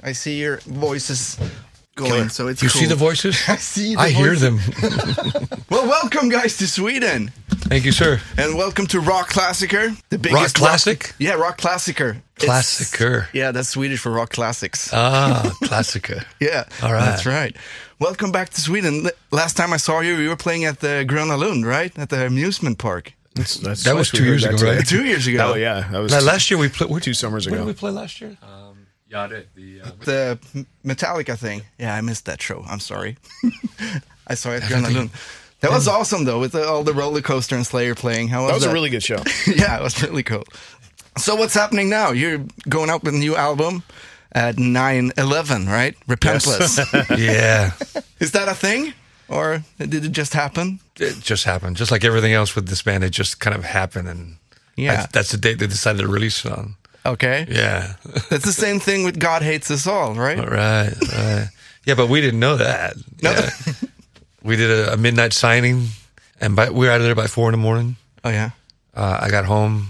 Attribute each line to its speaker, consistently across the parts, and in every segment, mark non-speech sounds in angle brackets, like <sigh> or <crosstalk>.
Speaker 1: I see your voices going, so it's
Speaker 2: You
Speaker 1: cool.
Speaker 2: see the voices?
Speaker 1: <laughs> I see the
Speaker 2: I hear
Speaker 1: voices.
Speaker 2: them.
Speaker 1: Well, welcome guys to Sweden,
Speaker 2: Thank you, sir.
Speaker 1: and welcome to Rock Classicer, the biggest
Speaker 2: Rock classic?
Speaker 1: yeah, Rock Classicer. It's-
Speaker 2: Classicer.
Speaker 1: yeah, that's Swedish for rock classics.
Speaker 2: Ah, classica.
Speaker 1: yeah,
Speaker 2: all right.
Speaker 1: that's right. Welcome back to Sweden. L- Last time I saw you, you were playing at the Gröna Lund, right, at the amusement park.
Speaker 3: That's, that's
Speaker 2: That was
Speaker 3: nice we
Speaker 2: two
Speaker 3: heard
Speaker 2: years
Speaker 3: that
Speaker 2: ago,
Speaker 3: today.
Speaker 2: right?
Speaker 1: Two years ago.
Speaker 3: <laughs> Oh yeah, that
Speaker 2: <laughs>
Speaker 3: was
Speaker 2: Now, last year we played.
Speaker 3: two summers
Speaker 2: When did
Speaker 3: ago.
Speaker 2: we play last year?
Speaker 4: Yeah, I did. The, uh,
Speaker 1: the M- Metallica thing. Yeah, I missed that show. I'm sorry. <laughs> I saw it. Gröna Lund. That was awesome though, with the, all the roller coaster and Slayer playing. How was
Speaker 3: That was a
Speaker 1: <laughs>
Speaker 3: really good show.
Speaker 1: yeah, it was really cool. So what's happening now? You're going out with a new album at nine eleven, right? Repentless.
Speaker 2: <laughs> yeah.
Speaker 1: Is that a thing, or did it just happen?
Speaker 2: It just happened. Just like everything else with this band, it just kind of happened. And
Speaker 1: Yeah.
Speaker 2: that's, that's the date they decided to release it on.
Speaker 1: Okay,
Speaker 2: Yeah.
Speaker 1: that's the same thing with God hates us all, right?
Speaker 2: <laughs> All right. right. Yeah, but we didn't know that. Yeah. we did a, a midnight signing, and by, we were out of there by four in the morning.
Speaker 1: Oh yeah,
Speaker 2: Uh, I got home,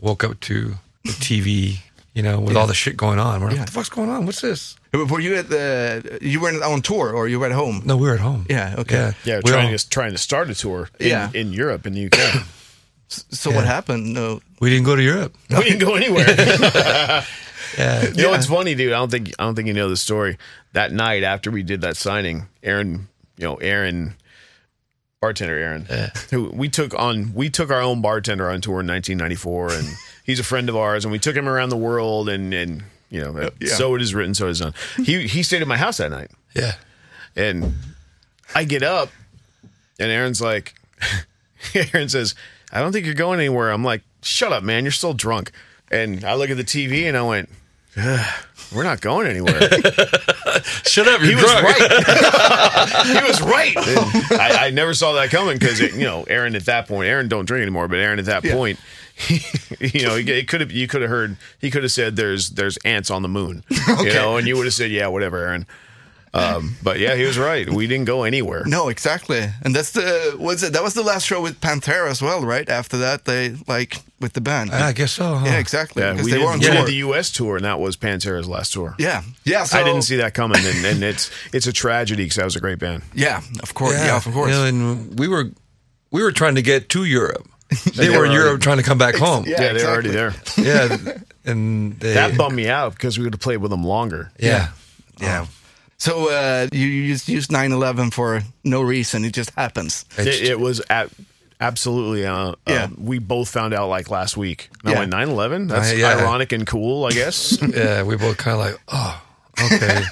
Speaker 2: woke up to the TV, you know, with all the shit going on. We're like, what the fuck's going on? What's this?
Speaker 1: were you at the? You weren't on tour, or you were at home?
Speaker 2: No, we were at home.
Speaker 1: Yeah, okay.
Speaker 3: Yeah,
Speaker 2: we,
Speaker 3: trying
Speaker 2: all-
Speaker 3: to trying to start a tour. In,
Speaker 1: Yeah.
Speaker 3: in Europe and the
Speaker 2: <laughs>
Speaker 3: UK,
Speaker 1: So what happened? No,
Speaker 2: we didn't go to Europe.
Speaker 3: we didn't go
Speaker 2: <laughs>
Speaker 3: anywhere.
Speaker 2: Yeah.
Speaker 3: You know, it's funny, dude. I don't think I don't think you know the story. That night after we did that signing, Aaron, you know, Aaron, bartender Aaron, who we took on, we took our own bartender on tour in 1994, and <laughs> he's a friend of ours, and we took him around the world, and and you know,
Speaker 1: yeah.
Speaker 3: so it is written, so it is done. He he stayed at my house that night.
Speaker 2: Yeah.
Speaker 3: And I get up, and Aaron's like, <laughs> Aaron says, I don't think you're going anywhere. I'm like, shut up, man. You're still drunk. And I look at the TV and I went, "Ugh, we're not going anywhere.
Speaker 2: Shut up. You're
Speaker 3: He was right. <laughs> he was right. And I, I never saw that coming because you know Aaron at that point. Aaron don't drink anymore, but Aaron at that point, <laughs> you know, it could have you could have heard he could have said there's there's ants on the moon,
Speaker 1: <laughs>
Speaker 3: you know, and you would have said yeah whatever Aaron. Um, but yeah, he was right. We didn't go anywhere.
Speaker 1: No, exactly, and that's the was it. That was the last show with Pantera as well, right? After that, they like with the band.
Speaker 2: I guess so. huh?
Speaker 1: Ah, yeah, exactly.
Speaker 3: yeah,
Speaker 1: because
Speaker 3: we,
Speaker 1: they
Speaker 3: did,
Speaker 1: were on
Speaker 3: we did
Speaker 1: tour.
Speaker 3: the U.S. tour, and that was Pantera's last tour.
Speaker 1: yeah, yeah. So,
Speaker 3: I didn't see that coming, and, and it's it's a tragedy because that was a great band.
Speaker 1: Yeah, of course. Yeah, of course.
Speaker 2: You know, and we were we were trying to get to
Speaker 3: <laughs>
Speaker 2: Europe. They
Speaker 3: they
Speaker 2: were
Speaker 3: were
Speaker 2: in
Speaker 3: already-
Speaker 2: Europe trying to come back home.
Speaker 1: Yeah,
Speaker 3: Yeah, they were
Speaker 1: exactly.
Speaker 3: already there.
Speaker 2: Yeah. And they,
Speaker 3: That bummed me out because we would have played with them longer.
Speaker 2: yeah.
Speaker 1: yeah.
Speaker 3: Oh.
Speaker 1: So uh, you you just used 9/11 for no reason. It just happens.
Speaker 3: It, it was at, absolutely. Uh,
Speaker 1: Yeah.
Speaker 3: uh, we both found out like last week. And
Speaker 1: Yeah.
Speaker 3: I went 9 11. That's
Speaker 2: Uh, yeah.
Speaker 3: ironic and cool, I guess.
Speaker 2: Yeah. We both kind of like, oh,
Speaker 3: <laughs>
Speaker 2: okay.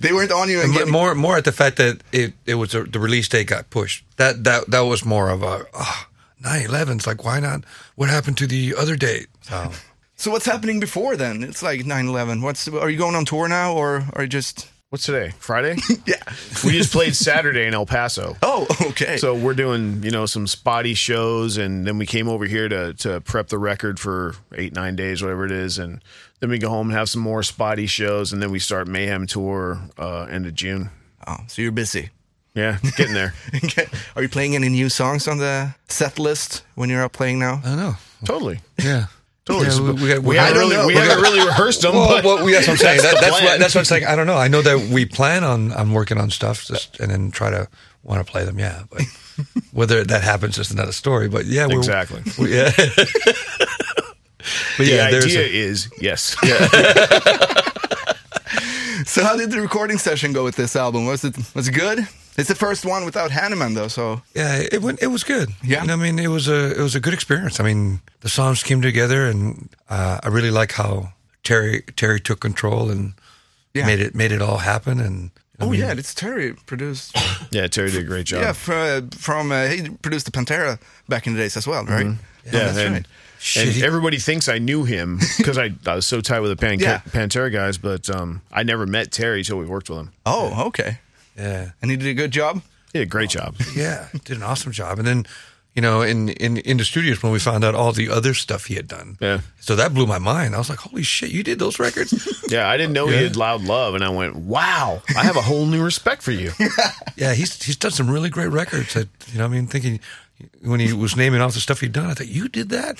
Speaker 1: They weren't on you. And
Speaker 2: But
Speaker 1: getting-
Speaker 2: more more at the fact that it, it was a, the release date got pushed. That that that was more of a oh, 9/11's like why not? What happened to the other date? So,
Speaker 3: Oh.
Speaker 1: so what's happening before then? It's like 9/11. What's are you going on tour now or or just?
Speaker 3: What's today? Friday?
Speaker 1: Yeah.
Speaker 3: we just played Saturday in El Paso.
Speaker 1: Oh, <laughs> okay.
Speaker 3: So we're doing, you know, some spotty shows, and then we came over here to to prep the record for eight, nine days, whatever it is, and then we go home and have some more spotty shows, and then we start Mayhem tour uh, end of June.
Speaker 1: oh, so you're busy. <laughs>
Speaker 3: Yeah, getting there.
Speaker 1: Okay. Are you playing any new songs on the set list when you're out playing now?
Speaker 2: I don't know.
Speaker 3: totally,
Speaker 2: <laughs> Yeah.
Speaker 3: totally.
Speaker 2: Yeah, we, we got, we
Speaker 3: We
Speaker 2: got-
Speaker 3: haven't
Speaker 1: don't
Speaker 3: really,
Speaker 1: know.
Speaker 3: we
Speaker 1: We
Speaker 3: haven't really rehearsed them.
Speaker 2: Well,
Speaker 3: but-
Speaker 2: well, yeah, that's what I'm saying. That,
Speaker 3: the
Speaker 2: that's, what,
Speaker 3: plan.
Speaker 2: that's what I'm saying. I don't know. I know that we plan on on working on stuff, just and then try to want to play them. Yeah, but whether that happens is another story. But yeah, we're,
Speaker 3: Exactly.
Speaker 2: we- yeah. but
Speaker 3: the
Speaker 2: yeah, there's
Speaker 3: idea
Speaker 2: a,
Speaker 3: is <laughs> yes.
Speaker 1: So how did the recording session go with this album? Was it was it good? It's the first one without Hanneman though, so
Speaker 2: yeah. It went. It was good.
Speaker 1: Yeah.
Speaker 2: You know, I mean, it was a it was a good experience. I mean, the songs came together, and uh, I really like how Terry Terry took control and
Speaker 1: Yeah.
Speaker 2: made it made it all happen. And I
Speaker 1: Oh
Speaker 2: mean,
Speaker 1: yeah, it's Terry produced.
Speaker 3: Yeah, Terry did a great job.
Speaker 1: yeah, from, from uh, he produced the Pantera back in the days as well, right? Oh,
Speaker 3: Yeah,
Speaker 1: that's
Speaker 3: and,
Speaker 1: right.
Speaker 2: Shit,
Speaker 3: and
Speaker 2: he-
Speaker 3: everybody thinks I knew him because I, I was so tight with the Pan-
Speaker 1: Yeah.
Speaker 3: Pantera guys, but um, I never met Terry till we worked with him.
Speaker 1: Oh, okay.
Speaker 2: yeah.
Speaker 1: And he did a good job.
Speaker 3: He did a great job.
Speaker 2: Yeah, did an awesome job. And then, you know, in in in the studios when we found out all the other stuff he had done.
Speaker 3: Yeah.
Speaker 2: So that blew my mind. I was like, "Holy shit, you did those records?"
Speaker 3: Yeah, I didn't know
Speaker 2: Yeah.
Speaker 3: he did Loud Love, and I went, "Wow, I have a whole new respect for you."
Speaker 2: yeah, he's he's done some really great records. That, you know, I mean, thinking, when he was naming off the stuff he'd done, I thought, "You did that?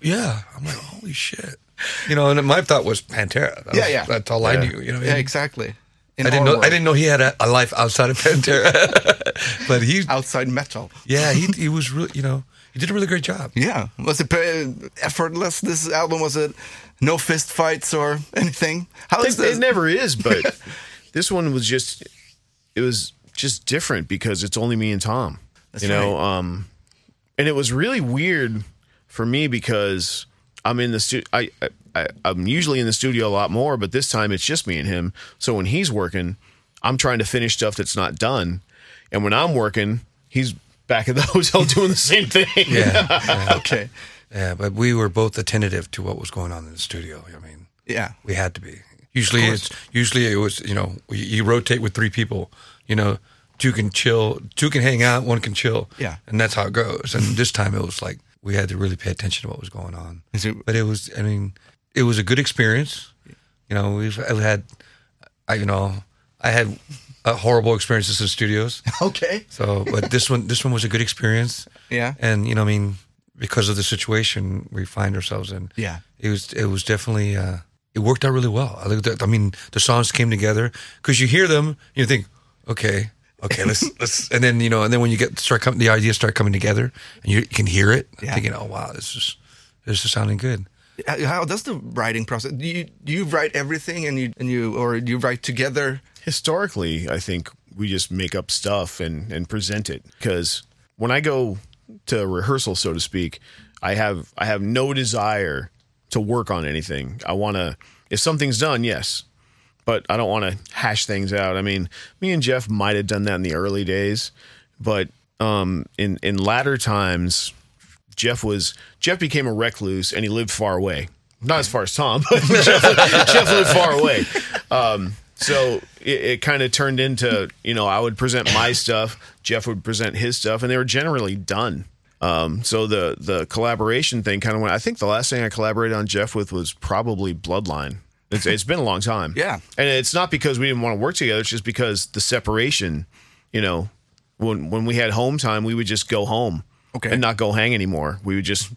Speaker 2: Yeah." I'm like, "Holy shit!" You know, and my thought was Pantera. That
Speaker 1: Yeah,
Speaker 2: was-
Speaker 1: yeah.
Speaker 2: That's all I knew. You know,
Speaker 1: Yeah, exactly. In
Speaker 2: Mm-hmm. I didn't
Speaker 1: our
Speaker 2: know.
Speaker 1: world,
Speaker 2: I didn't know he had a, a life outside of Pantera, <laughs>
Speaker 1: <laughs>
Speaker 2: but he,
Speaker 1: outside metal.
Speaker 2: yeah, he, he was really, you know, he did a really great job.
Speaker 1: Yeah, was it uh, effortless? This album was it no fist fights or <laughs> anything? How is
Speaker 3: It, it
Speaker 1: this?
Speaker 3: never
Speaker 1: <laughs>
Speaker 3: is, but this one was just it was just different because it's only me and Tom. you know, um and it was really weird for me because I'm in the stu- I, I- I I'm usually in the studio a lot more, but this time it's just me and him. So when he's working, I'm trying to finish stuff that's not done, and when I'm working, he's back at the <laughs> hotel doing the same thing.
Speaker 2: Yeah, yeah,
Speaker 1: okay,
Speaker 2: yeah, but we were both attentive to what was going on in the studio. I mean,
Speaker 1: yeah,
Speaker 2: we had to be. Usually, it's usually it was you know you, you rotate with three people. You know, two can chill, two can hang out, one can chill.
Speaker 1: Yeah.
Speaker 2: and that's how it goes. And this time it was like we had to really pay attention to what was going on.
Speaker 1: Is it-
Speaker 2: but it was, I mean, it was a good experience. You know, we've I've had, I, you know, I had uh, horrible experiences in studios.
Speaker 1: okay,
Speaker 2: So, but this one, this one was a good experience.
Speaker 1: Yeah.
Speaker 2: And you know, I mean, because of the situation we find ourselves in.
Speaker 1: Yeah.
Speaker 2: It was, it was definitely, uh, it worked out really well. I looked at, I mean, the songs came together because you hear them, you think, okay, okay,
Speaker 1: <laughs>
Speaker 2: let's let's, and then you know, and then when you get start coming, the ideas start coming together, and you, can hear it.
Speaker 1: Yeah.
Speaker 2: Thinking, oh wow, this is this is sounding good.
Speaker 1: How- How does the writing process? Do you do you write everything and you and you or do you write together?
Speaker 3: historically, I think we just make up stuff and and present it because when I go to rehearsal, so to speak, I have I have no desire to work on anything. I want to if something's done, yes, but I don't want to hash things out. I mean, me and Jeff might have done that in the early days, but um, in in latter times, Jeff was Jeff became a recluse and he lived far away. Not as far as Tom, <laughs> but Jeff, Jeff lived far away. Um, so it, it kind of turned into you know I would present my stuff, Jeff would present his stuff, and they were generally done. Um, so the the collaboration thing kind of went. I think the last thing I collaborated on Jeff with was probably Bloodline. It's, it's been a long time.
Speaker 1: Yeah.
Speaker 3: And it's not because we didn't want to work together. It's just because the separation, you know, when when we had home time, we would just go home
Speaker 1: Okay.
Speaker 3: and not go hang anymore. We would just,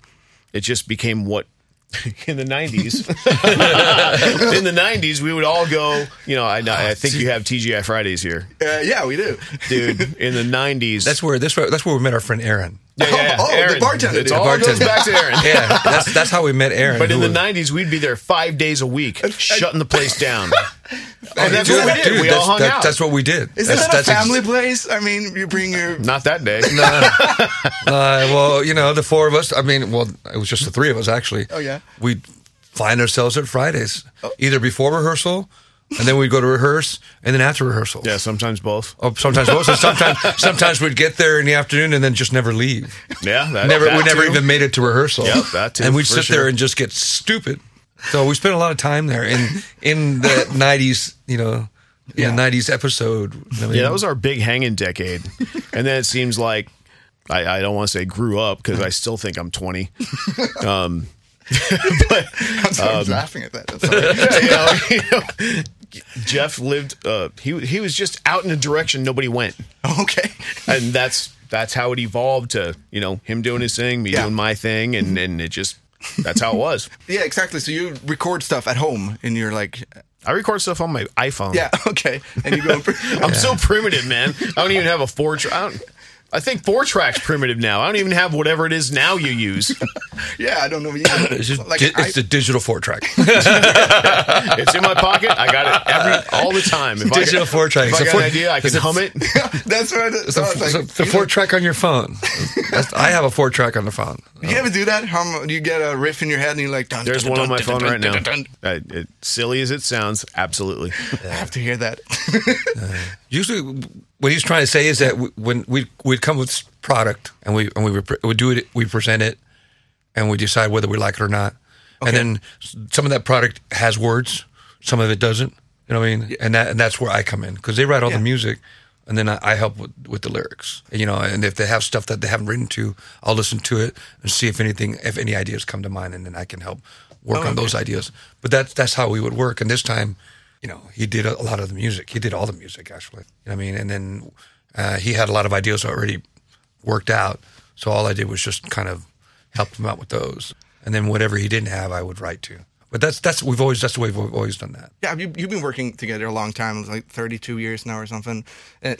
Speaker 3: it just became what <laughs> in the
Speaker 2: <laughs>
Speaker 3: 90s. in the 90s, we would all go, you know, I, I think you have TGI Fridays here.
Speaker 1: Uh, yeah, we do.
Speaker 3: Dude, in the 90s.
Speaker 2: That's where that's where that's where we met our friend Aaron.
Speaker 3: yeah, yeah, yeah.
Speaker 1: Oh, the
Speaker 3: Aaron.
Speaker 1: bartender
Speaker 3: It
Speaker 1: dude.
Speaker 3: all goes
Speaker 2: Bartender.
Speaker 3: back to
Speaker 2: <laughs>
Speaker 3: Aaron.
Speaker 2: Yeah, that's that's how we met Aaron.
Speaker 3: But in
Speaker 2: who
Speaker 3: the
Speaker 2: was-
Speaker 3: 90s, we'd be there five days a week, shutting the place down. And that's
Speaker 2: Dude,
Speaker 3: what we did.
Speaker 2: dude,
Speaker 3: we all
Speaker 2: that's-
Speaker 3: hung
Speaker 2: that-
Speaker 3: out.
Speaker 2: That's what we did.
Speaker 1: Is
Speaker 2: that's,
Speaker 1: that a
Speaker 2: that's ex-
Speaker 1: family place? I mean, you bring
Speaker 2: <laughs>
Speaker 1: your
Speaker 3: Not that day.
Speaker 2: Uh, well, you know, the four of us. I mean, well, it was just the three of us actually.
Speaker 1: Oh, yeah. Oh.
Speaker 2: We'd find ourselves at Fridays, either before rehearsal, and then we'd go to rehearse, and then after rehearsal.
Speaker 3: Yeah, sometimes both.
Speaker 2: Or sometimes both. and Sometimes sometimes we'd get there in the afternoon and then just never leave.
Speaker 3: Yeah, <laughs> that,
Speaker 2: Never.
Speaker 3: that
Speaker 2: we never
Speaker 3: too.
Speaker 2: even made it to rehearsal.
Speaker 3: Yep, that too,
Speaker 2: And we'd
Speaker 3: for
Speaker 2: sit
Speaker 3: sure.
Speaker 2: there and just get stupid. So we spent a lot of time there in in the
Speaker 1: <laughs>
Speaker 2: '90s. You know, in
Speaker 1: Yeah.
Speaker 2: the '90s episode. I mean,
Speaker 3: Yeah, that was our big hanging decade, and then it seems like I, I don't want to say grew up because I still think I'm 20.
Speaker 1: I'm sorry,
Speaker 2: Um,
Speaker 1: I was laughing at that. I'm
Speaker 2: <laughs>
Speaker 1: sorry.
Speaker 3: <laughs> You know, you know, Jeff lived. Uh, he he was just out in a direction nobody went,
Speaker 1: okay.
Speaker 3: and that's that's how it evolved to you know him doing his thing, me
Speaker 1: Yeah.
Speaker 3: doing my thing, and and it just that's how it was.
Speaker 1: Yeah, exactly. So you record stuff at home and you're like,
Speaker 3: I record stuff on my iPhone.
Speaker 1: yeah, <laughs> okay, and you go.
Speaker 2: <laughs> Um,
Speaker 3: I'm so primitive, man. I don't even have a four track. I think four tracks primitive now. I don't even have whatever it is now you use.
Speaker 1: yeah, I don't know. either.
Speaker 2: It's, just,
Speaker 1: like
Speaker 2: di-
Speaker 1: I-
Speaker 2: it's the digital four track.
Speaker 3: It's in my pocket. I got it every all the time. If
Speaker 2: Digital
Speaker 3: I, got-
Speaker 2: four track.
Speaker 3: If I
Speaker 2: So
Speaker 3: got
Speaker 2: four-
Speaker 3: an idea, I can
Speaker 2: so-
Speaker 3: hum it.
Speaker 1: <laughs> that's what I
Speaker 2: It's a,
Speaker 1: was like.
Speaker 2: it's a- it's a four track on your phone. That's- I have a four track on the phone.
Speaker 1: you ever do that? How mu- you get a riff in your head and you're like, dun,
Speaker 3: There's
Speaker 1: dun,
Speaker 3: one on
Speaker 1: dun,
Speaker 3: my
Speaker 1: dun,
Speaker 3: phone
Speaker 1: dun,
Speaker 3: right now.
Speaker 1: dun, dun, dun.
Speaker 3: Uh, it- silly as it sounds, absolutely.
Speaker 1: I have to hear that. <laughs>
Speaker 2: Usually, what he's trying to say is that w when we we'd come with s- product and we and we rep- we do it, we present it, and we decide whether we like it or not. And then s- some of that product has words, some of it doesn't. You know what I mean? And that and that's where I come in because they write all
Speaker 1: Yeah.
Speaker 2: the music, and then I, I help with, with the lyrics. You know, and if they have stuff that they haven't written to, I'll listen to it and see if anything, if any ideas come to mind, and then I can help work on those ideas. But that's that's how we would work. And this time, you know, he did a lot of the music. He did all the music actually. You know what I mean? And then uh, he had a lot of ideas already worked out. So all I did was just kind of help him out with those, and then whatever he didn't have, I would write to. But that's that's we've always that's the way we've always done that.
Speaker 1: Yeah, you, you've been working together a long time, like thirty-two years now or something. <laughs> And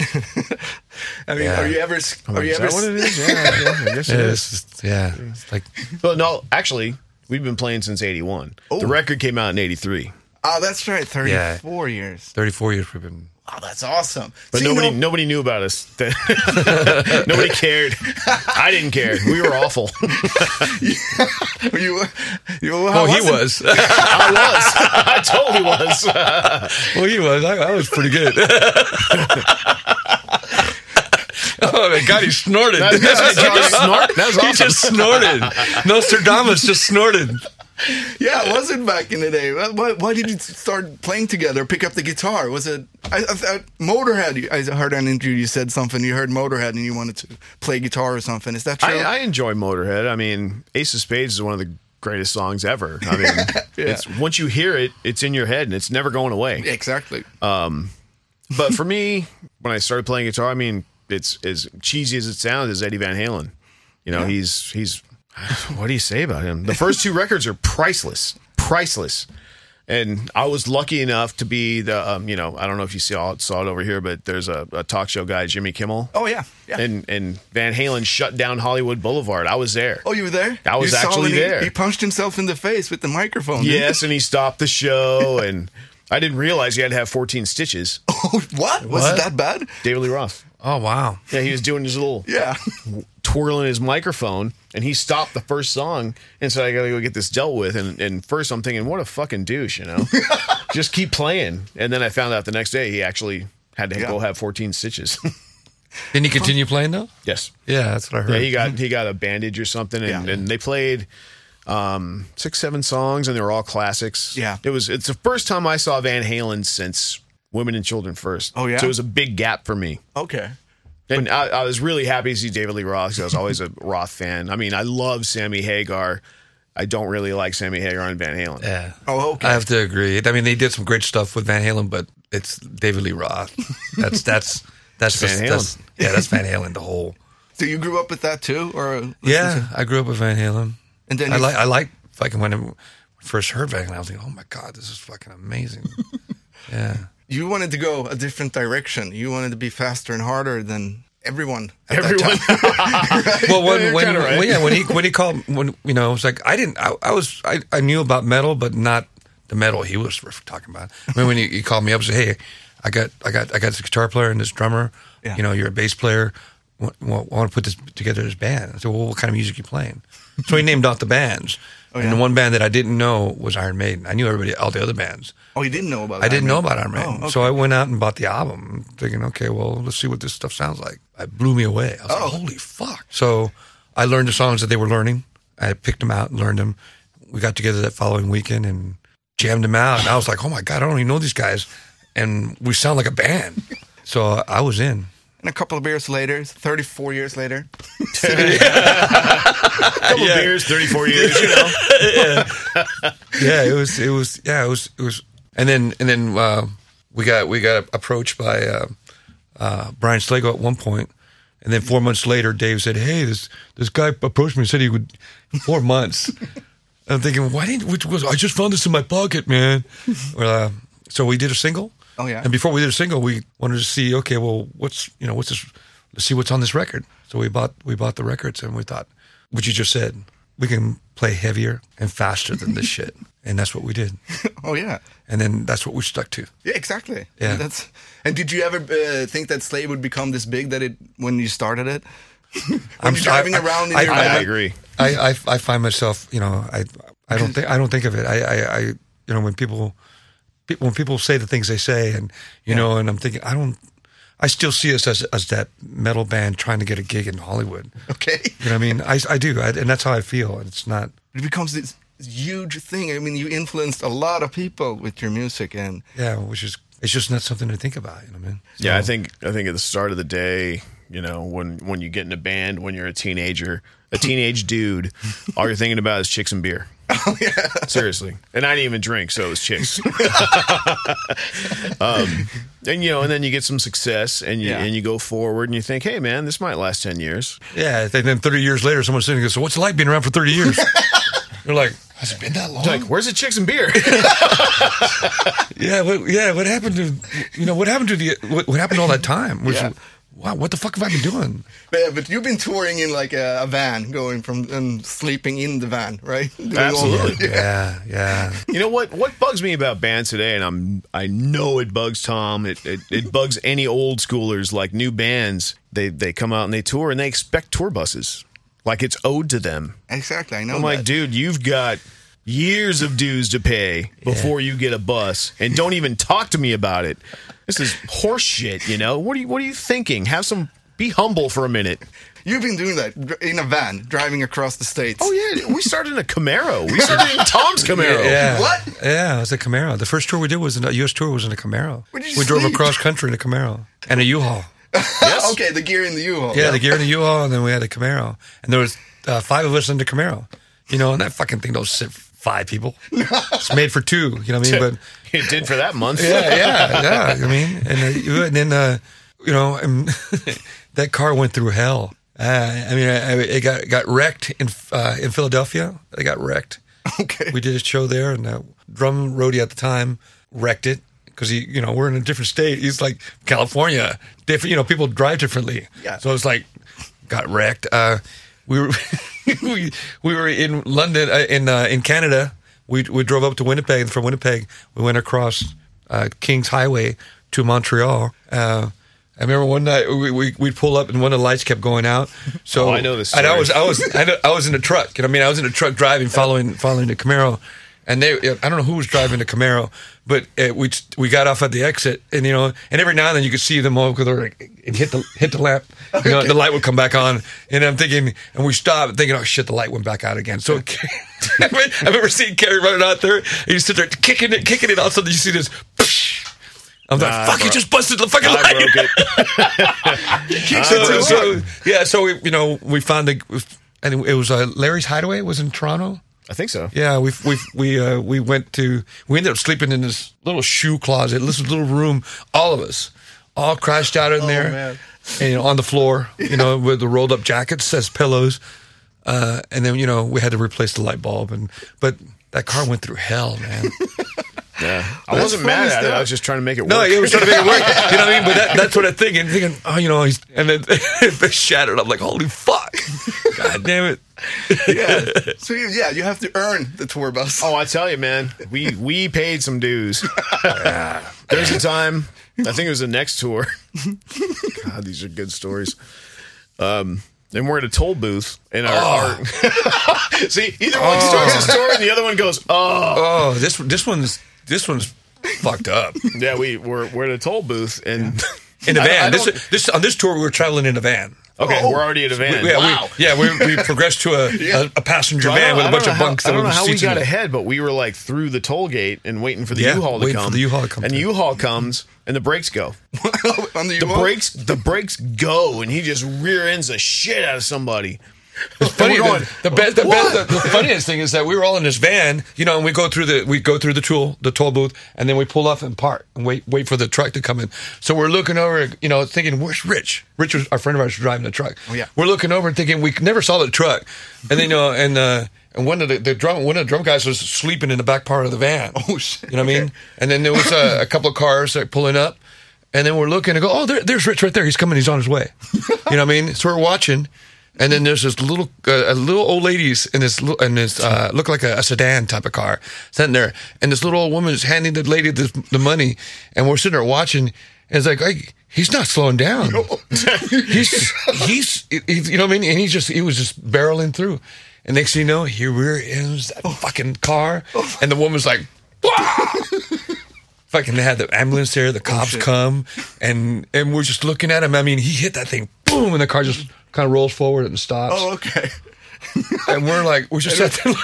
Speaker 1: I mean,
Speaker 2: Yeah.
Speaker 1: are you ever? s- Are you
Speaker 3: is
Speaker 1: ever?
Speaker 3: that
Speaker 1: s-
Speaker 3: what it is? Yeah, yeah, I guess it is.
Speaker 2: it's just- yeah, it's like
Speaker 3: But no, actually, we've been playing since '81. The record came out in '83,
Speaker 1: <laughs> Oh, that's right, thirty-four years.
Speaker 2: thirty-four years we've been.
Speaker 1: Oh, that's awesome.
Speaker 3: but
Speaker 1: So, you
Speaker 3: nobody
Speaker 1: know-
Speaker 3: nobody knew about us. then. <laughs> nobody cared. I didn't care. We were awful.
Speaker 1: <laughs> you, you,
Speaker 2: Oh,
Speaker 1: how
Speaker 2: he
Speaker 1: it?
Speaker 2: was. <laughs>
Speaker 3: I was. I totally was.
Speaker 2: well, he was. I, I was pretty good. <laughs> oh my god, he snorted.
Speaker 3: That's- <laughs> that's-
Speaker 2: He just
Speaker 3: that's snort? That's
Speaker 2: he
Speaker 3: awesome.
Speaker 2: just
Speaker 3: <laughs>
Speaker 2: snorted. Nostradamus just snorted.
Speaker 1: Yeah, it wasn't back in the day. Why- Why, why did you start playing together? Pick up the guitar? Was it I, I, I, Motorhead? I heard an interview. You said something. You heard Motorhead, and you wanted to play guitar or something. Is that true?
Speaker 3: I, I enjoy Motorhead. I mean, Ace of Spades is one of the greatest songs ever. I mean,
Speaker 1: <laughs>
Speaker 3: it's once you hear it, it's in your head and it's never going away.
Speaker 1: exactly.
Speaker 3: Uh, But for me, when I started playing guitar, I mean, it's as cheesy as it sounds is Eddie Van Halen. You know, he's he's <sighs> what do you say about him? The first two records are priceless, priceless. And I was lucky enough to be the um, you know, I don't know if you saw saw it over here, but there's a, a talk show guy, Jimmy Kimmel.
Speaker 1: oh yeah, yeah.
Speaker 3: And and Van Halen shut down Hollywood Boulevard. I was there.
Speaker 1: oh, you were there.
Speaker 3: I was
Speaker 1: You saw
Speaker 3: actually
Speaker 1: when he-
Speaker 3: there.
Speaker 1: He, punched himself in the face with the microphone. didn't
Speaker 3: Yes, and he stopped the show, <laughs> and I didn't realize he had to have 14 stitches.
Speaker 1: he? <laughs> Oh, what? Was
Speaker 2: What?
Speaker 1: it that bad?
Speaker 3: David Lee Roth.
Speaker 2: Oh wow.
Speaker 3: Yeah, he was doing his little
Speaker 2: <laughs>
Speaker 1: Yeah.
Speaker 3: twirling his microphone, and he stopped the first song and said, "I gotta go get this dealt with." And and first, I'm thinking, "What a fucking douche,"
Speaker 1: <laughs>
Speaker 3: you know? Just keep playing. And then I found out the next day he actually had to
Speaker 1: Yeah.
Speaker 3: go have 14 stitches. <laughs>
Speaker 2: Didn't he continue playing though?
Speaker 3: yes.
Speaker 2: Yeah, that's what I heard.
Speaker 3: Yeah, he got he got a bandage or something, and,
Speaker 1: Mm-hmm. Yeah.
Speaker 3: and they played um, six seven songs, and they were all classics.
Speaker 1: Yeah.
Speaker 3: it was it's the first time I saw Van Halen since Women and Children First.
Speaker 1: Oh, yeah?
Speaker 3: so it was a big gap for me,
Speaker 1: Okay.
Speaker 3: and I, I was really happy to see David Lee Roth. 'cause I was always a <laughs> Roth fan. I mean, I love Sammy Hagar. I don't really like Sammy Hagar and Van Halen.
Speaker 2: Yeah.
Speaker 1: Oh, okay.
Speaker 2: I have to agree. I mean, they did some great stuff with Van Halen, but it's David Lee Roth.
Speaker 1: <laughs>
Speaker 2: That's that's that's
Speaker 3: Van
Speaker 2: just-
Speaker 3: Halen.
Speaker 2: That's, yeah, that's Van Halen the whole.
Speaker 1: So you grew up with that too, or
Speaker 2: Yeah, I grew up with Van Halen.
Speaker 1: And then
Speaker 2: I
Speaker 1: you-
Speaker 2: like I like fucking when I first heard Van Halen, I was like, oh my god, this is fucking amazing. yeah.
Speaker 1: you wanted to go a different direction? You wanted to be faster and harder than everyone. at that
Speaker 3: Everyone, <laughs>
Speaker 1: time.
Speaker 2: Well, when,
Speaker 3: you're
Speaker 2: when,
Speaker 3: kinda right.
Speaker 2: well, yeah, when he when he called when you know, it was like I didn't. I, I was I, I knew about metal, but not the metal he was talking about. I mean, when he, he called me up, and said, "Hey, I got I got I got this guitar player and this drummer.
Speaker 1: Yeah.
Speaker 2: You know, you're a bass player. Wa- wa- I want to put this together this band." I said, "Well, what kind of music you playing?" so he named off the bands,
Speaker 1: yeah.
Speaker 3: Oh,
Speaker 2: and the one band that I didn't know was Iron Maiden. I knew everybody, all the other bands.
Speaker 1: Oh, you didn't know about.
Speaker 2: I didn't know about Iron
Speaker 1: Iron Man.
Speaker 2: Maiden,
Speaker 1: Oh, okay.
Speaker 2: so I went out and bought the album, thinking, okay, well, let's see what this stuff sounds like. It blew me away. I was
Speaker 1: Oh.
Speaker 2: like, holy fuck! So I learned the songs that they were learning. I picked them out and learned them. We got together that following weekend and jammed them out, and I was like, oh my god, I don't even know these guys, and we sound like a
Speaker 1: <laughs>
Speaker 2: band. So I was in.
Speaker 1: And a couple of years later, 34 years later, <laughs>
Speaker 3: couple beers, thirty-four years. You know,
Speaker 2: yeah, it was. It was. Yeah, it was. It was. And then and then uh, we got we got approached by uh, uh, Brian Slago at one point, and then four months later, Dave said, "Hey, this this guy approached me and said he would four months." I'm thinking, why didn't? Which was I just found this in my pocket, man. well, uh, so we did a single.
Speaker 1: Oh, yeah.
Speaker 2: And before we did a single, we wanted to see, okay, well, what's you know, what's this? Let's see what's on this record. So we bought we bought the records, and we thought, what you just said, we can play heavier and faster than this <laughs> shit, and that's what we did.
Speaker 1: oh yeah,
Speaker 2: And then that's what we stuck to.
Speaker 1: yeah, exactly.
Speaker 2: Yeah.
Speaker 1: And that's. And did you ever uh, think that Slade would become this big that it when you started it? <laughs> when
Speaker 2: I'm
Speaker 1: you're
Speaker 2: so- I-
Speaker 1: driving
Speaker 2: I-
Speaker 1: around in
Speaker 2: I-
Speaker 1: your
Speaker 3: I,
Speaker 1: van-
Speaker 3: agree.
Speaker 2: I, I, I find myself, you know, I I don't think I don't think of it. I, I, I you know when people pe- when people say the things they say, and you know, and I'm thinking I don't. I still see us as, as that metal band trying to get a gig in Hollywood.
Speaker 1: okay,
Speaker 2: You know what I mean? I, I do, I, and that's how I feel. And it's not.
Speaker 1: it becomes this huge thing. I mean, you influenced a lot of people with your music, and
Speaker 2: Yeah, which is it's just not something to think about. You know what I mean?
Speaker 3: Yeah, I think I think at the start of the day, you know, when when you get in a band, when you're a teenager, a teenage dude, all you're thinking about is chicks and <laughs> beer. <laughs> Seriously, and I didn't even drink, so it was chicks. um, and you know, and then you get some success, and you
Speaker 1: Yeah.
Speaker 3: and you go forward, and you think, hey, man, this might last ten years.
Speaker 2: Yeah, and then 30 years later, someone's sitting there goes, So, what's it like being around for 30 years? <laughs> You're like, Has it been that long?
Speaker 3: Like, where's the chicks and beer? <laughs>
Speaker 2: yeah, what, yeah, what happened to, you know, what happened to the, what, what happened all that time? Which,
Speaker 1: Yeah.
Speaker 2: Wow, what the fuck have I been doing?
Speaker 1: But, yeah, but you've been touring in like a, a van, going from and sleeping in the van, right? <laughs> Doing all-
Speaker 3: Absolutely.
Speaker 2: Yeah,
Speaker 1: <laughs>
Speaker 2: yeah.
Speaker 3: You know what? What bugs me about bands today, and I'm I know it bugs Tom. It it, it bugs any old schoolers like new bands. They they come out and they tour and they expect tour buses, like it's owed to them.
Speaker 1: Exactly. I know.
Speaker 3: I'm like,
Speaker 1: that.
Speaker 3: dude, you've got years of dues to pay before you get a bus, and don't even talk to me about it. This is horseshit. You know what are you what are you thinking? Have some be humble for a minute.
Speaker 1: You've been doing that dr- in a van, driving across the states.
Speaker 3: Oh yeah, we started in a Camaro. We <laughs> started in Tom's Camaro.
Speaker 2: Yeah.
Speaker 1: What?
Speaker 2: Yeah, it was a Camaro. The first tour we did was in a U.S. tour was in a Camaro.
Speaker 1: Where'd you
Speaker 2: we drove
Speaker 1: sleep?
Speaker 2: across country in a Camaro and a U-Haul.
Speaker 3: Yes.
Speaker 1: okay, the gear in the U-Haul.
Speaker 2: Yeah, the gear in the U-Haul, and then we had a Camaro, and there was uh, five of us in the Camaro. You know, and that fucking thing don't sit five people.
Speaker 1: <laughs>
Speaker 2: it's made for two. You know what I mean? But
Speaker 3: <laughs> It did for that month.
Speaker 2: yeah, yeah, yeah. I mean, and, uh, you- and then uh, you know, and <laughs> that car went through hell. Uh, I mean, I, I, it got it got wrecked in uh, in Philadelphia. It got wrecked.
Speaker 1: <laughs> Okay.
Speaker 2: We did a show there, and uh, drum roadie at the time wrecked it because he, you know, we're in a different state. He's like California, different. You know, people drive differently.
Speaker 1: Yeah.
Speaker 2: So it's like got wrecked. Uh, we were <laughs> we, we were in London uh, in uh, in Canada. We we drove up to Winnipeg, and from Winnipeg we went across uh, Kings Highway to Montreal. Uh, I remember one night we, we we'd pull up and one of the lights kept going out. So
Speaker 3: Oh, I know this
Speaker 2: And I
Speaker 3: story.
Speaker 2: was I was I, know, I was in a truck. You know, what I mean, I was in a truck driving, following following the Camaro, and they I don't know who was driving the Camaro, but uh we we got off at the exit, and you know, and every now and then you could see them all because and hit the hit the lamp. You know, the light would come back on, and I'm thinking, and we stopped thinking, oh shit, the light went back out again. So. It, <laughs> I remember seeing Carrie running out there. And you sit there kicking it, kicking it. All of a sudden, you see this. I'm like,
Speaker 3: Nah,
Speaker 2: "Fuck! You
Speaker 3: bro.
Speaker 2: just busted the fucking
Speaker 3: I
Speaker 2: light!"
Speaker 3: broke it.
Speaker 2: so,
Speaker 3: too
Speaker 2: so- Ah, yeah, so we, you know, we found the, and it was uh, Larry's Hideaway was in Toronto.
Speaker 3: I think so.
Speaker 2: Yeah, we we we uh, we went to we ended up sleeping in this little shoe closet, this little room, all of us, all crashed out in there,
Speaker 1: man.
Speaker 2: and on the floor, you know, with the rolled up jackets as pillows, uh, and then you know we had to replace the light bulb, and but that car went through hell, man.
Speaker 3: I wasn't
Speaker 1: funny
Speaker 3: mad at it.
Speaker 1: stuff.
Speaker 3: I was just trying to make it
Speaker 2: No,
Speaker 3: work.
Speaker 2: it was trying to make it work. <laughs> You know what I mean? But that, that sort of thing. And thinking, oh, you know, he's, and then <laughs> it shattered. I'm like, holy fuck. God damn it.
Speaker 1: yeah. So you, yeah, you have to earn the tour bus.
Speaker 3: Oh, I tell you, man, we we paid
Speaker 2: <laughs>
Speaker 3: some dues. There's a time. I think it was the next tour. <laughs> God, these are good stories. Um, and we're at a toll booth, and our, our <laughs> see either one starts a story, and the other one goes, "Oh,
Speaker 2: Oh, this this one's this one's fucked up.
Speaker 3: yeah." We we're we're at a toll booth, and
Speaker 2: In a
Speaker 3: I don't-
Speaker 2: van.
Speaker 3: I
Speaker 2: this
Speaker 3: don't-
Speaker 2: this on this tour we were traveling in a van.
Speaker 3: okay, we're already at a van.
Speaker 2: Yeah,
Speaker 3: wow.
Speaker 2: we, yeah, we, we
Speaker 3: <laughs>
Speaker 2: progressed to a, a, a passenger
Speaker 3: I
Speaker 2: van
Speaker 3: don't-
Speaker 2: with a bunch
Speaker 3: I don't know
Speaker 2: of
Speaker 3: how-
Speaker 2: bunks.
Speaker 3: I
Speaker 2: that
Speaker 3: don't know
Speaker 2: were
Speaker 3: how we
Speaker 2: seats in
Speaker 3: got
Speaker 2: it.
Speaker 3: ahead, but we were like through the toll gate and waiting for the
Speaker 2: Yeah,
Speaker 3: U-Haul to
Speaker 2: waiting for
Speaker 3: come.
Speaker 2: the U-Haul to come
Speaker 3: And the
Speaker 2: through.
Speaker 3: U-Haul comes, and the
Speaker 2: <laughs>
Speaker 3: brakes
Speaker 1: <laughs>
Speaker 3: go.
Speaker 1: On the,
Speaker 3: the
Speaker 1: U-Haul?
Speaker 3: brakes the brakes go and he just rear ends the shit out of somebody
Speaker 2: It's funny.
Speaker 3: We're going,
Speaker 2: The, the, best, the, best,
Speaker 3: "What?"
Speaker 2: the, the funniest thing is that we were all in this van, you know, and we go through the we go through the tool the toll booth, and then we pull off and park and wait wait for the truck to come in. So we're looking over, you know, thinking, "Where's Rich?" Rich was our friend of ours was driving the truck.
Speaker 1: Oh, yeah.
Speaker 2: we're looking over and thinking we never saw the truck, and then you know, and uh, and one of the, the drum one of the drum guys was sleeping in the back part of the van.
Speaker 1: Oh, shit.
Speaker 2: You know what I mean? And then there was uh, a, a couple of cars that pulling up, and then we're looking and go, oh, there, there's Rich right there. He's coming. He's on his way. you know what I mean? So we're watching, and then there's this little uh, a little old lady's in this li- in this uh, look like a, a sedan type of car sitting there, and this little old woman is handing the lady this, the money, and we're sitting there watching. And it's like, hey, he's not slowing down. he's he's he- you know what I mean? And he's just he was just barreling through. And next thing you know, here we're in that
Speaker 1: Oh.
Speaker 2: fucking car, and the woman's like,
Speaker 1: <laughs>
Speaker 2: fucking they had the ambulance there,
Speaker 1: Oh,
Speaker 2: the cops come, and and we're just looking at him. I mean, he hit that thing, boom, and the car just kind of rolls forward and stops.
Speaker 1: <laughs> Oh, okay.
Speaker 2: And we're like,
Speaker 1: <laughs>
Speaker 2: we're just at the,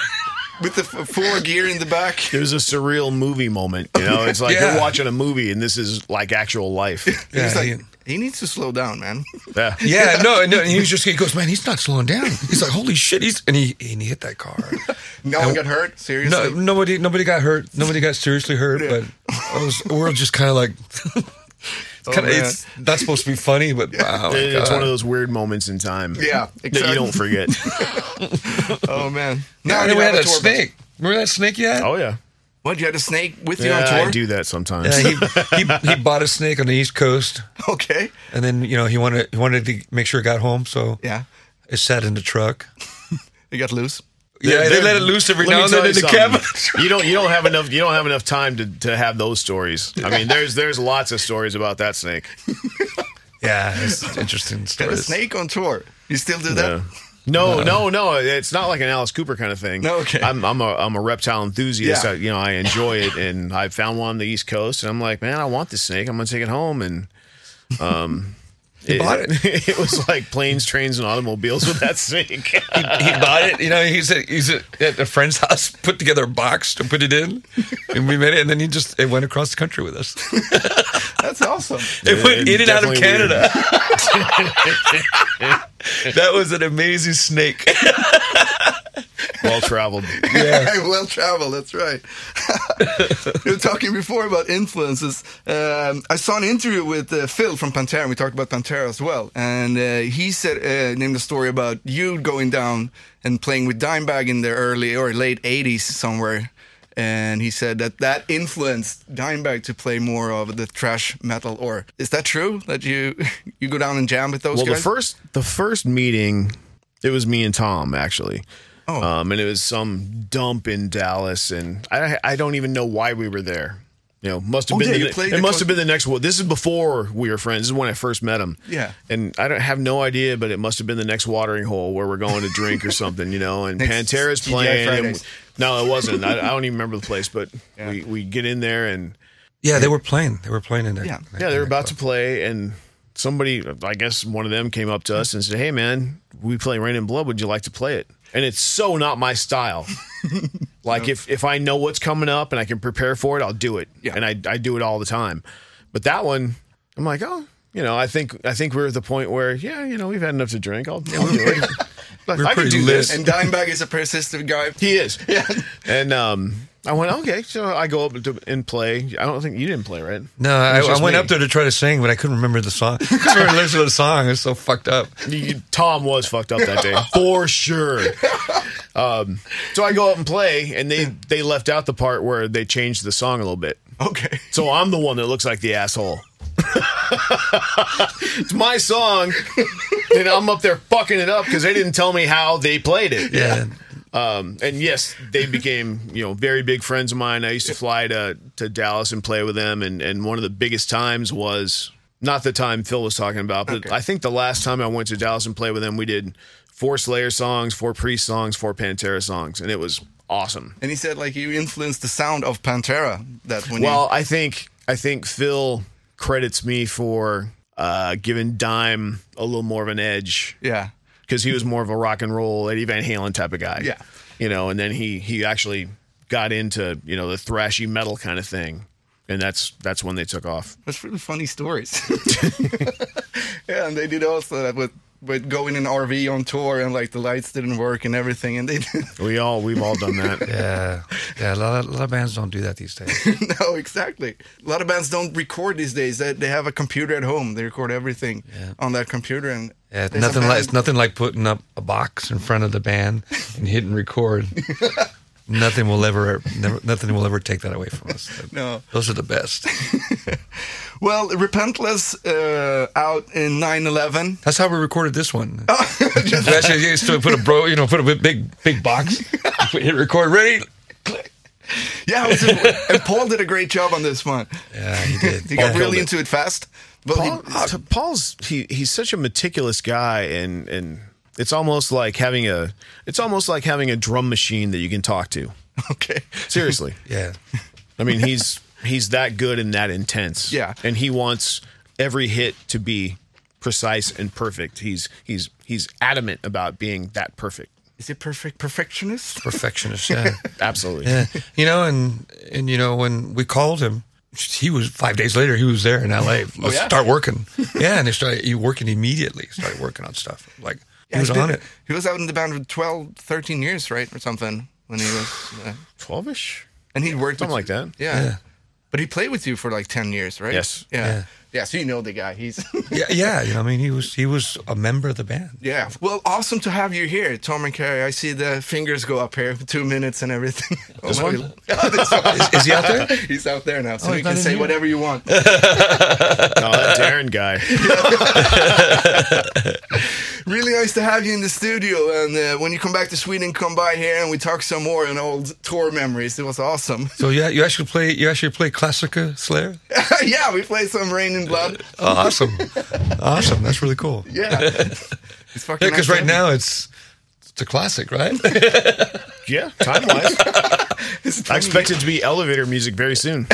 Speaker 1: With the f- four gear in the back.
Speaker 3: it was a surreal movie moment you know it's
Speaker 2: <laughs>
Speaker 3: like
Speaker 2: Yeah. Oh
Speaker 3: you're watching a movie and this is like
Speaker 2: <laughs>
Speaker 3: actual life
Speaker 1: He was
Speaker 2: Yeah,
Speaker 1: like, he needs to slow down, man.
Speaker 3: yeah
Speaker 1: <laughs>
Speaker 2: yeah, no, no. And he was just he goes, man, he's not slowing down. He's like, holy shit, he's and he and he hit that car.
Speaker 1: No one got hurt. Seriously.
Speaker 2: No,
Speaker 3: <laughs>
Speaker 2: nobody, nobody got hurt. Nobody got seriously hurt, but I was, we're just kind of like.
Speaker 3: Oh,
Speaker 2: kinda,
Speaker 1: man.
Speaker 2: it's not supposed to be funny, but wow. my
Speaker 3: It's
Speaker 2: God.
Speaker 3: one of those weird moments in time.
Speaker 1: Yeah,
Speaker 3: That
Speaker 1: exactly.
Speaker 3: you don't forget.
Speaker 2: <laughs>
Speaker 1: Oh man!
Speaker 2: No,
Speaker 1: Now
Speaker 2: and
Speaker 1: you
Speaker 2: then we
Speaker 1: have
Speaker 2: had
Speaker 1: a tour
Speaker 2: that
Speaker 1: bus.
Speaker 2: snake. Remember that snake you had?
Speaker 3: oh, yeah.
Speaker 1: What? You had a snake with you
Speaker 3: yeah
Speaker 1: on tour?
Speaker 3: I do that sometimes.
Speaker 2: Yeah, he,
Speaker 3: <laughs>
Speaker 2: he he bought a snake on the East Coast,
Speaker 1: <laughs> Okay.
Speaker 2: and then you know he wanted he wanted to make sure it got home, so
Speaker 1: Yeah.
Speaker 2: it sat in the truck.
Speaker 1: You got loose.
Speaker 2: Yeah, they
Speaker 3: They're-
Speaker 2: let it loose every
Speaker 3: let me
Speaker 2: now and
Speaker 3: tell
Speaker 2: then in
Speaker 3: you
Speaker 2: the cabin.
Speaker 3: <laughs> something. You don't you don't have enough you don't have enough time to, to have those stories. I mean, there's there's lots of stories about that snake.
Speaker 2: yeah, it's interesting
Speaker 1: Got a
Speaker 2: stories.
Speaker 1: snake on tour. You still do that?
Speaker 3: Yeah. No, no, no. It's not like an Alice Cooper kind of thing.
Speaker 1: No, okay.
Speaker 3: I'm, I'm a I'm a reptile enthusiast.
Speaker 1: Yeah.
Speaker 3: I, you know, I enjoy it, and I found one on the East Coast, and I'm like, man, I want this snake. I'm gonna take it home, and um,
Speaker 2: bought
Speaker 3: it. <laughs> it was like planes, trains, and automobiles with that snake.
Speaker 2: he bought it. You know, he's at, he's at, at a friend's house, put together a box to put it in, and we made it. And then he just it went across the country with us.
Speaker 1: That's awesome. <laughs>
Speaker 2: It went in and out of
Speaker 3: Definitely
Speaker 2: Canada. <laughs> that was an amazing snake.
Speaker 3: <laughs> well traveled.
Speaker 1: well traveled. That's right. <laughs> you were talking before about influences. Um, I saw an interview with uh, Phil from Pantera. and We talked about Pantera as well, and uh, he said uh, named a story about you going down and playing with Dimebag in the early or late '80s somewhere. And he said that that influenced Dimebag to play more of the trash metal. Or is that true? That you <laughs> you go down and jam with those
Speaker 3: Well,
Speaker 1: guys?
Speaker 3: the first the first meeting, it was me and Tom actually. Oh. Um, and it was some dump in Dallas, and I I don't even know why we were there. You know, must have
Speaker 1: Oh,
Speaker 3: been
Speaker 1: yeah,
Speaker 3: the,
Speaker 1: you played
Speaker 3: it
Speaker 1: the
Speaker 3: must
Speaker 1: con-
Speaker 3: have been the next one. This is before we were friends. This is when I first met him.
Speaker 1: Yeah.
Speaker 3: and I don't have no idea, but it must have been the next watering hole where we're going to drink
Speaker 1: <laughs>
Speaker 3: or something, you know. And
Speaker 1: Next
Speaker 3: Pantera's
Speaker 1: TGI
Speaker 3: playing. and-
Speaker 1: Fridays.
Speaker 3: no, it wasn't. I, I don't even remember the place, but we we get in there and
Speaker 2: Yeah, they were playing. They were playing in there.
Speaker 1: Yeah.
Speaker 3: yeah, they were about to play, and somebody, I guess one of them came up to us and said, Hey, man, we play Rain and Blood. Would you like to play it? And it's so not
Speaker 2: <laughs>
Speaker 3: my style. like, if, if I know what's coming up and I can prepare for it, I'll do it.
Speaker 1: Yeah.
Speaker 3: And I, I do it all the time. But that one, I'm like, Oh, you know, I think I think we're at the point where, yeah, you know, we've had enough to drink. I'll, I'll
Speaker 2: <laughs>
Speaker 3: do it. Like,
Speaker 2: We're
Speaker 3: I can
Speaker 2: pretty
Speaker 3: do
Speaker 2: lit.
Speaker 3: this.
Speaker 1: and Dimebag is a persistent guy.
Speaker 3: He is. Yeah. And um, I went, okay. So I go up to, and play. I don't think you didn't play, right?
Speaker 2: No,
Speaker 3: It
Speaker 2: I,
Speaker 3: was
Speaker 2: I
Speaker 3: just
Speaker 2: went
Speaker 3: me.
Speaker 2: up there to try to sing, but I couldn't remember the song. <laughs> I couldn't remember the lyrics of the song. It's so fucked up.
Speaker 3: You- Tom was fucked up that day for sure. Um, so I go out and play, and they they left out the part where they changed the song a little bit.
Speaker 1: Okay.
Speaker 3: So I'm the one that looks like the asshole. <laughs> it's my song, and I'm up there fucking it up because they didn't tell me how they played it.
Speaker 2: Yeah.
Speaker 3: Um, and yes, they became you know very big friends of mine. I used to fly to to Dallas and play with them, and and one of the biggest times was not the time Phil was talking about, but I think the last time I went to Dallas and played with them, we did four Slayer songs, four Priest songs, four Pantera songs, and it was awesome.
Speaker 1: And he said, like, you influenced the sound of Pantera. That when
Speaker 3: Well, I think I think Phil credits me for uh, giving Dime a little more of an edge
Speaker 1: you, yeah,
Speaker 3: because he was more of a rock and roll Eddie Van Halen type of guy.
Speaker 1: Yeah.
Speaker 3: you know, and then he he actually got into you know the thrashy metal kind of thing, and that's that's when they took off.
Speaker 1: that's really funny stories. <laughs> yeah, and they did also that with with going in RV on tour and like the lights didn't work and everything, and they <laughs> did,
Speaker 3: We all we've all done that.
Speaker 2: Yeah. Yeah. A lot, a lot of bands don't do that these days.
Speaker 1: no, exactly. A lot of bands don't record these days. They, they have a computer at home. They record everything on that computer, and
Speaker 2: Yeah,
Speaker 1: there's a
Speaker 2: nothing like
Speaker 1: band-
Speaker 2: it's nothing like putting up a box in front of the band and hitting
Speaker 3: <laughs>
Speaker 2: record. nothing will ever, never, nothing will ever take that away from us.
Speaker 1: No.
Speaker 2: those are the best.
Speaker 1: Well, Repentless uh, out in 9/11.
Speaker 2: That's how we recorded this one.
Speaker 1: Oh. <laughs>
Speaker 2: we actually used to put a bro, you know, put a big- big big box,
Speaker 1: <laughs>
Speaker 2: hit record, ready.
Speaker 1: Yeah, it was a- and Paul did a great job on this one.
Speaker 2: Yeah, he did.
Speaker 1: He got
Speaker 2: Yeah.
Speaker 1: really into it fast. But he-
Speaker 3: <laughs> Paul, t- Paul's he he's such a meticulous guy, and and it's almost like having a it's almost like having a drum machine that you can talk to.
Speaker 1: <laughs> okay,
Speaker 3: <laughs> Seriously.
Speaker 2: Yeah,
Speaker 3: I mean, he's he's that good and that intense.
Speaker 1: Yeah.
Speaker 3: and he wants every hit to be precise and perfect. He's he's he's adamant about being that perfect.
Speaker 1: is it perfect perfectionist? <laughs>
Speaker 2: perfectionist. Yeah.
Speaker 3: Absolutely.
Speaker 2: yeah, you know, and and you know when we called him, he was five days later. He was there in L.A. Let's
Speaker 1: Oh, yeah?
Speaker 2: start working. Yeah, and they started he working immediately. Started working on stuff like he
Speaker 1: Yeah,
Speaker 2: was
Speaker 1: he's
Speaker 2: on
Speaker 1: been-
Speaker 2: it.
Speaker 1: He was out in the band for 12, 13 years, right? Or something when he was. Uh,
Speaker 3: Twelve ish,
Speaker 1: and he worked
Speaker 3: something
Speaker 1: with,
Speaker 3: like that.
Speaker 1: Yeah. But he played with you for like ten years, right?
Speaker 3: Yes.
Speaker 1: Yeah.
Speaker 2: Yeah.
Speaker 1: Yeah. so you know the guy. He's <laughs>
Speaker 2: Yeah, yeah. you know, I mean, he was he was a member of the band.
Speaker 1: yeah. Well, awesome to have you here, Tom and Carrie. I see the fingers go up here, two minutes and everything. <laughs> Oh,
Speaker 2: This
Speaker 1: my-
Speaker 2: one?
Speaker 1: Yeah, <laughs> this one.
Speaker 2: Is, is he out
Speaker 1: <laughs>
Speaker 2: there?
Speaker 1: He's out there now, so
Speaker 2: Oh,
Speaker 1: you
Speaker 2: he's not
Speaker 1: can
Speaker 2: in
Speaker 1: say
Speaker 2: here?
Speaker 1: whatever you
Speaker 2: <laughs>
Speaker 1: want.
Speaker 3: No, Oh, that Darren guy.
Speaker 1: really nice to have you in the studio. And uh, when you come back to Sweden, come by here and we talk some more on old tour memories. It was awesome.
Speaker 2: So yeah, you actually play you actually play Classica Slayer.
Speaker 1: <laughs> yeah, we played some Rain and Blood.
Speaker 2: <laughs> Oh, awesome, awesome. That's really cool.
Speaker 1: Yeah. It's fucking
Speaker 2: Yeah, because
Speaker 1: nice
Speaker 2: right
Speaker 1: to have
Speaker 2: now it's it's a classic, right?
Speaker 3: Yeah, time wise.
Speaker 1: you. <laughs> It's
Speaker 3: I
Speaker 1: funny.
Speaker 3: expect it to be elevator music very soon.